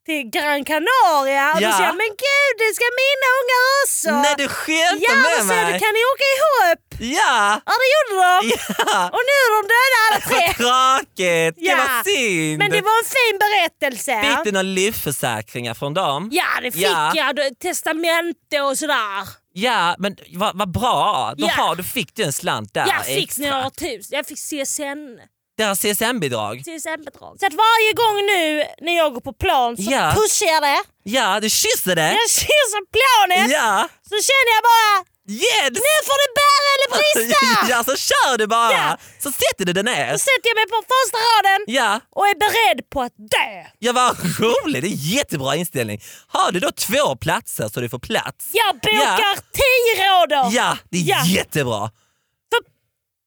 [SPEAKER 5] till Gran Canaria. Och då
[SPEAKER 4] Ja.
[SPEAKER 5] sa jag men gud det ska mina ungar också.
[SPEAKER 4] Nej du skämtar
[SPEAKER 5] Alltså, ja,
[SPEAKER 4] med
[SPEAKER 5] och så
[SPEAKER 4] mig?
[SPEAKER 5] du kan ni åka ihop?
[SPEAKER 4] Ja!
[SPEAKER 5] Ja det gjorde de.
[SPEAKER 4] Ja!
[SPEAKER 5] Och nu är de döda alla tre.
[SPEAKER 4] Vad tråkigt!
[SPEAKER 5] Ja.
[SPEAKER 4] Det var synd!
[SPEAKER 5] Men det var en fin berättelse.
[SPEAKER 4] Fick du några livförsäkringar från dem?
[SPEAKER 5] Ja det fick
[SPEAKER 4] Ja.
[SPEAKER 5] jag. Då- Testamente och sådär.
[SPEAKER 4] Ja, men vad vad bra! Då
[SPEAKER 5] Ja.
[SPEAKER 4] har, du fick du en slant där
[SPEAKER 5] jag fick
[SPEAKER 4] extra.
[SPEAKER 5] några tusen. Jag fick CSN.
[SPEAKER 4] Deras CSN-bidrag.
[SPEAKER 5] CSN-bidrag. Så att varje gång nu när jag går på plan så
[SPEAKER 4] Ja.
[SPEAKER 5] pushar jag det.
[SPEAKER 4] Ja, du kysser det!
[SPEAKER 5] Jag kysser planet
[SPEAKER 4] Ja!
[SPEAKER 5] så känner jag bara
[SPEAKER 4] Yes!
[SPEAKER 5] Nu får det bära eller brista!
[SPEAKER 4] Ja, så kör du bara!
[SPEAKER 5] Ja.
[SPEAKER 4] Så sätter du dig ner.
[SPEAKER 5] Då sätter jag mig på första raden
[SPEAKER 4] Ja,
[SPEAKER 5] och är beredd på att dö.
[SPEAKER 4] ja vad roligt! Det är jättebra inställning. Har du då två platser så du får plats?
[SPEAKER 5] Jag bokar
[SPEAKER 4] Ja.
[SPEAKER 5] tio rader
[SPEAKER 4] Ja, det är
[SPEAKER 5] Ja.
[SPEAKER 4] jättebra!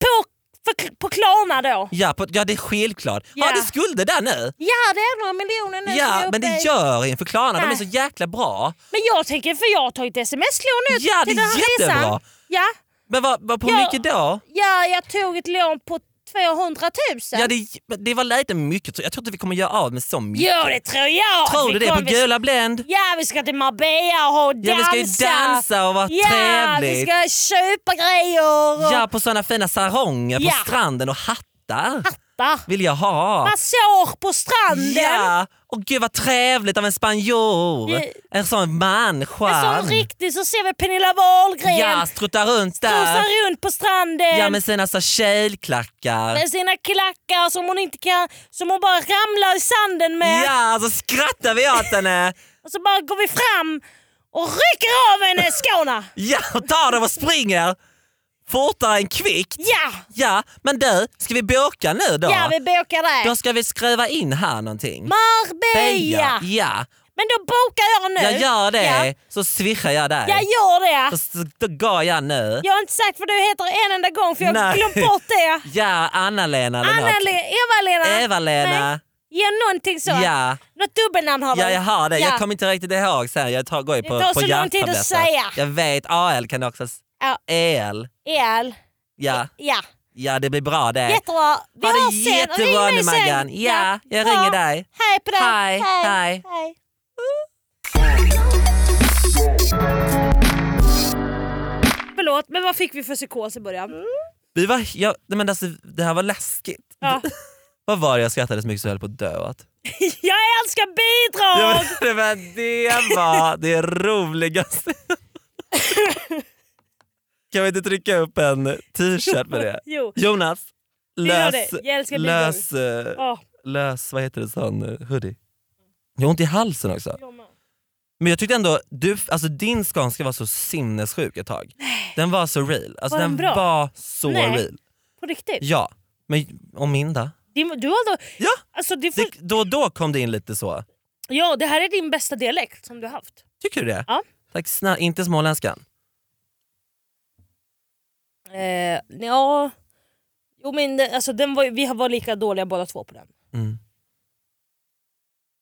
[SPEAKER 5] på, för, på Klarna då.
[SPEAKER 4] Ja, på, ja, det är självklart.
[SPEAKER 5] Ja.
[SPEAKER 4] Har du skulder där nu?
[SPEAKER 5] Ja, det är några miljoner nu som jag
[SPEAKER 4] Ja,
[SPEAKER 5] är
[SPEAKER 4] men
[SPEAKER 5] uppe
[SPEAKER 4] det
[SPEAKER 5] i.
[SPEAKER 4] gör inför Klarna. De
[SPEAKER 5] Nej.
[SPEAKER 4] är så jäkla bra.
[SPEAKER 5] men jag tänker, för jag har tagit sms-lån nu
[SPEAKER 4] Ja, det
[SPEAKER 5] till den här
[SPEAKER 4] är jättebra.
[SPEAKER 5] resan. Ja,
[SPEAKER 4] Men vad, vad, på hur
[SPEAKER 5] Ja.
[SPEAKER 4] mycket då?
[SPEAKER 5] ja, jag tog ett lån på 200 000.
[SPEAKER 4] Ja, det, det var lite mycket. Jag tror inte vi kommer göra av med så mycket.
[SPEAKER 5] Jo, det tror jag.
[SPEAKER 4] tror du
[SPEAKER 5] Vi
[SPEAKER 4] det? På
[SPEAKER 5] kommer-
[SPEAKER 4] Gula Blend?
[SPEAKER 5] Ja, vi ska till Marbella och ha och dansa.
[SPEAKER 4] Ja, vi ska ju dansa och vara
[SPEAKER 5] Ja, vi
[SPEAKER 4] trevligt.
[SPEAKER 5] ska köpa grejer. Och...
[SPEAKER 4] Ja, på såna fina saronger
[SPEAKER 5] Ja.
[SPEAKER 4] på stranden och hattar
[SPEAKER 5] Va?
[SPEAKER 4] vill jag ha.
[SPEAKER 5] massage på stranden.
[SPEAKER 4] Ja, och gud vad trevligt av en spanjor.
[SPEAKER 5] Ja.
[SPEAKER 4] En sån man,
[SPEAKER 5] En sån
[SPEAKER 4] skön.
[SPEAKER 5] riktig så ser vi Pernilla Wahlgren
[SPEAKER 4] Ja, struttar runt där.
[SPEAKER 5] strosar runt på stranden
[SPEAKER 4] Ja, med sina så tjejklackar.
[SPEAKER 5] med sina klackar som hon inte kan, som hon bara ramlar i sanden med.
[SPEAKER 4] Ja, så skrattar vi åt henne.
[SPEAKER 5] Och så bara går vi fram och rycker av henne skorna.
[SPEAKER 4] Ja, och tar dem och springer. Fortare än kvickt.
[SPEAKER 5] Ja,
[SPEAKER 4] Ja, men du, ska vi boka nu då?
[SPEAKER 5] ja vi bokar det.
[SPEAKER 4] Då ska vi skriva in här någonting.
[SPEAKER 5] Marbella!
[SPEAKER 4] Ja.
[SPEAKER 5] Men då bokar jag nu.
[SPEAKER 4] Jag gör det,
[SPEAKER 5] Ja,
[SPEAKER 4] så swishar jag dig.
[SPEAKER 5] jag gör det.
[SPEAKER 4] Så- så- Då går jag nu.
[SPEAKER 5] Jag har inte sagt vad du heter en enda gång för jag har
[SPEAKER 4] Nej.
[SPEAKER 5] glömt bort det.
[SPEAKER 4] Ja, Anna-Lena eller något.
[SPEAKER 5] Anna-Le- Eva-Lena. Nej.
[SPEAKER 4] Eva-Lena.
[SPEAKER 5] Ge någonting så.
[SPEAKER 4] Ja.
[SPEAKER 5] Något dubbelnamn har du.
[SPEAKER 4] ja, jag har det.
[SPEAKER 5] Ja.
[SPEAKER 4] Jag kommer inte riktigt ihåg sen. Jag tar, går ju på
[SPEAKER 5] Det tar
[SPEAKER 4] på
[SPEAKER 5] så lång tid att
[SPEAKER 4] hjärttabletter.
[SPEAKER 5] säga.
[SPEAKER 4] Jag vet, AL kan du också... s-
[SPEAKER 5] Ja.
[SPEAKER 4] EL.
[SPEAKER 5] El.
[SPEAKER 4] Ja.
[SPEAKER 5] Ja,
[SPEAKER 4] ja, det blir bra det.
[SPEAKER 5] jättebra. Vi
[SPEAKER 4] Ha det
[SPEAKER 5] hörs sen.
[SPEAKER 4] jättebra
[SPEAKER 5] Ring
[SPEAKER 4] nu
[SPEAKER 5] mig sen.
[SPEAKER 4] Maggan. Ja, jag
[SPEAKER 5] Bra.
[SPEAKER 4] ringer dig.
[SPEAKER 5] Hej på dig.
[SPEAKER 4] Hej, hej.
[SPEAKER 5] hej. Förlåt, men vad fick vi för psykos i början?
[SPEAKER 4] Vi var, jag, nej men alltså, det här var läskigt.
[SPEAKER 5] Ja.
[SPEAKER 4] Vad var det jag skrattade så mycket så jag höll på att dö åt?
[SPEAKER 5] Jag älskar bidrag!
[SPEAKER 4] Ja, men, det, var, det var det roligaste. Kan vi inte trycka upp en t-shirt med det?
[SPEAKER 5] Jo,
[SPEAKER 4] Jonas,
[SPEAKER 5] gör
[SPEAKER 4] lös,
[SPEAKER 5] det. Jag älskar bidrag.
[SPEAKER 4] lös, eh,
[SPEAKER 5] ja.
[SPEAKER 4] lös, vad heter det, sån eh, hoodie. Jag har ont i halsen också.
[SPEAKER 5] jag med.
[SPEAKER 4] Men jag tyckte ändå, du, alltså din skånska var så sinnessjuk ett tag. Den var så real. Alltså,
[SPEAKER 5] Var den
[SPEAKER 4] den
[SPEAKER 5] bra?
[SPEAKER 4] var så
[SPEAKER 5] Nej.
[SPEAKER 4] real.
[SPEAKER 5] På riktigt?
[SPEAKER 4] Ja, men och min då?
[SPEAKER 5] Din, du har då,
[SPEAKER 4] Ja,
[SPEAKER 5] alltså det får,
[SPEAKER 4] det, då och då kom det in lite så.
[SPEAKER 5] ja, det här är din bästa dialekt som du har haft.
[SPEAKER 4] Tycker du det?
[SPEAKER 5] Ja.
[SPEAKER 4] Tack snälla, inte småländskan.
[SPEAKER 5] Eh, ja, jo, men det- alltså, den var, ju- vi var lika dåliga båda två på den.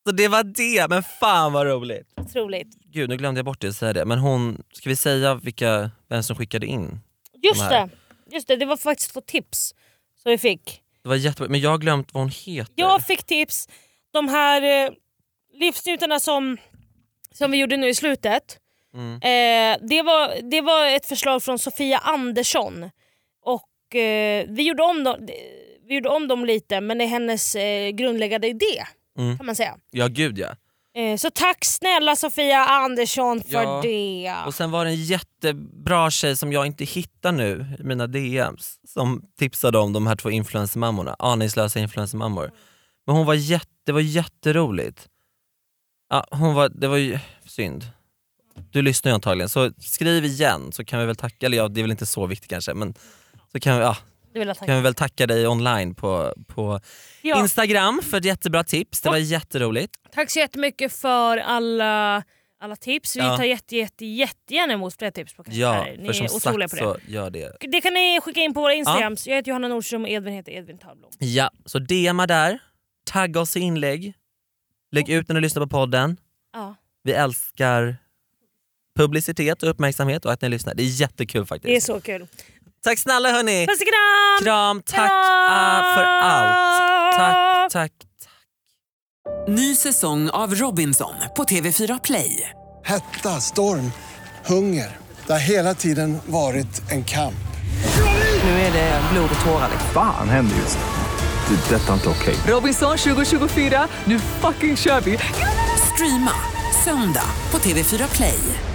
[SPEAKER 4] Så det var det, men fan vad roligt.
[SPEAKER 5] Otroligt.
[SPEAKER 4] Gud, nu glömde jag bort det att säga det. Men hon, ska vi säga vilka, vem som skickade in? De
[SPEAKER 5] Just
[SPEAKER 4] här.
[SPEAKER 5] det, just det, det var faktiskt två tips som vi fick.
[SPEAKER 4] Det var jättebra, men jag har glömt vad hon heter.
[SPEAKER 5] Jag fick tips, de här eh, livsnjutarna som, som vi gjorde nu i slutet.
[SPEAKER 4] Mm.
[SPEAKER 5] Eh, det, var, det var ett förslag från Sofia Andersson. Och eh, vi, gjorde om dem, vi gjorde om dem lite men det är hennes eh, grundläggande idé
[SPEAKER 4] Mm.
[SPEAKER 5] kan man säga.
[SPEAKER 4] Ja, gud ja.
[SPEAKER 5] Eh, så tack snälla Sofia Andersson för
[SPEAKER 4] Ja.
[SPEAKER 5] det.
[SPEAKER 4] Och sen var det en jättebra tjej som jag inte hittar nu i mina DMs som tipsade om de här två influencermammorna, aningslösa influencermammor. Men hon var jätte, det var jätteroligt. Ja, hon var, det var ju synd. Du lyssnar ju antagligen, så skriv igen så kan vi väl tacka, eller ja, det är väl inte så viktigt kanske, men så kan vi, ja,
[SPEAKER 5] Det vill jag tacka.
[SPEAKER 4] kan vi väl tacka dig online på, på
[SPEAKER 5] Ja.
[SPEAKER 4] Instagram för ett jättebra tips. Det var jätteroligt.
[SPEAKER 5] Tack så jättemycket för alla, alla tips. Vi
[SPEAKER 4] Ja.
[SPEAKER 5] tar jätte, jätte, jättegärna emot fler tips. På
[SPEAKER 4] Ja,
[SPEAKER 5] karaktärer. Ni
[SPEAKER 4] för som
[SPEAKER 5] är otroliga
[SPEAKER 4] sagt
[SPEAKER 5] på det.
[SPEAKER 4] så gör det.
[SPEAKER 5] Det kan ni skicka in på våra Instagrams. Jag heter Johanna Nordström och Edvin heter Edvin Törnblom.
[SPEAKER 4] Ja, så DMa där, tagga oss i inlägg, lägg ut när du lyssnar på podden.
[SPEAKER 5] Ja.
[SPEAKER 4] Vi älskar publicitet och uppmärksamhet och att ni lyssnar. Det är jättekul faktiskt.
[SPEAKER 5] Det är så kul.
[SPEAKER 4] Tack snälla hörni!
[SPEAKER 5] Puss och kram!
[SPEAKER 4] Kram, tack
[SPEAKER 5] Kram!
[SPEAKER 4] ah, för allt! Tack, tack,
[SPEAKER 1] Ny säsong av Robinson på TV4 Play.
[SPEAKER 2] Hetta, storm, hunger. Det har hela tiden varit en kamp.
[SPEAKER 7] Nu är det blod och tårar.
[SPEAKER 3] Fan händer just nu. Det. är Detta är inte okej.
[SPEAKER 1] Robinson 2024, nu fucking kör vi! Streama söndag på TV4 Play.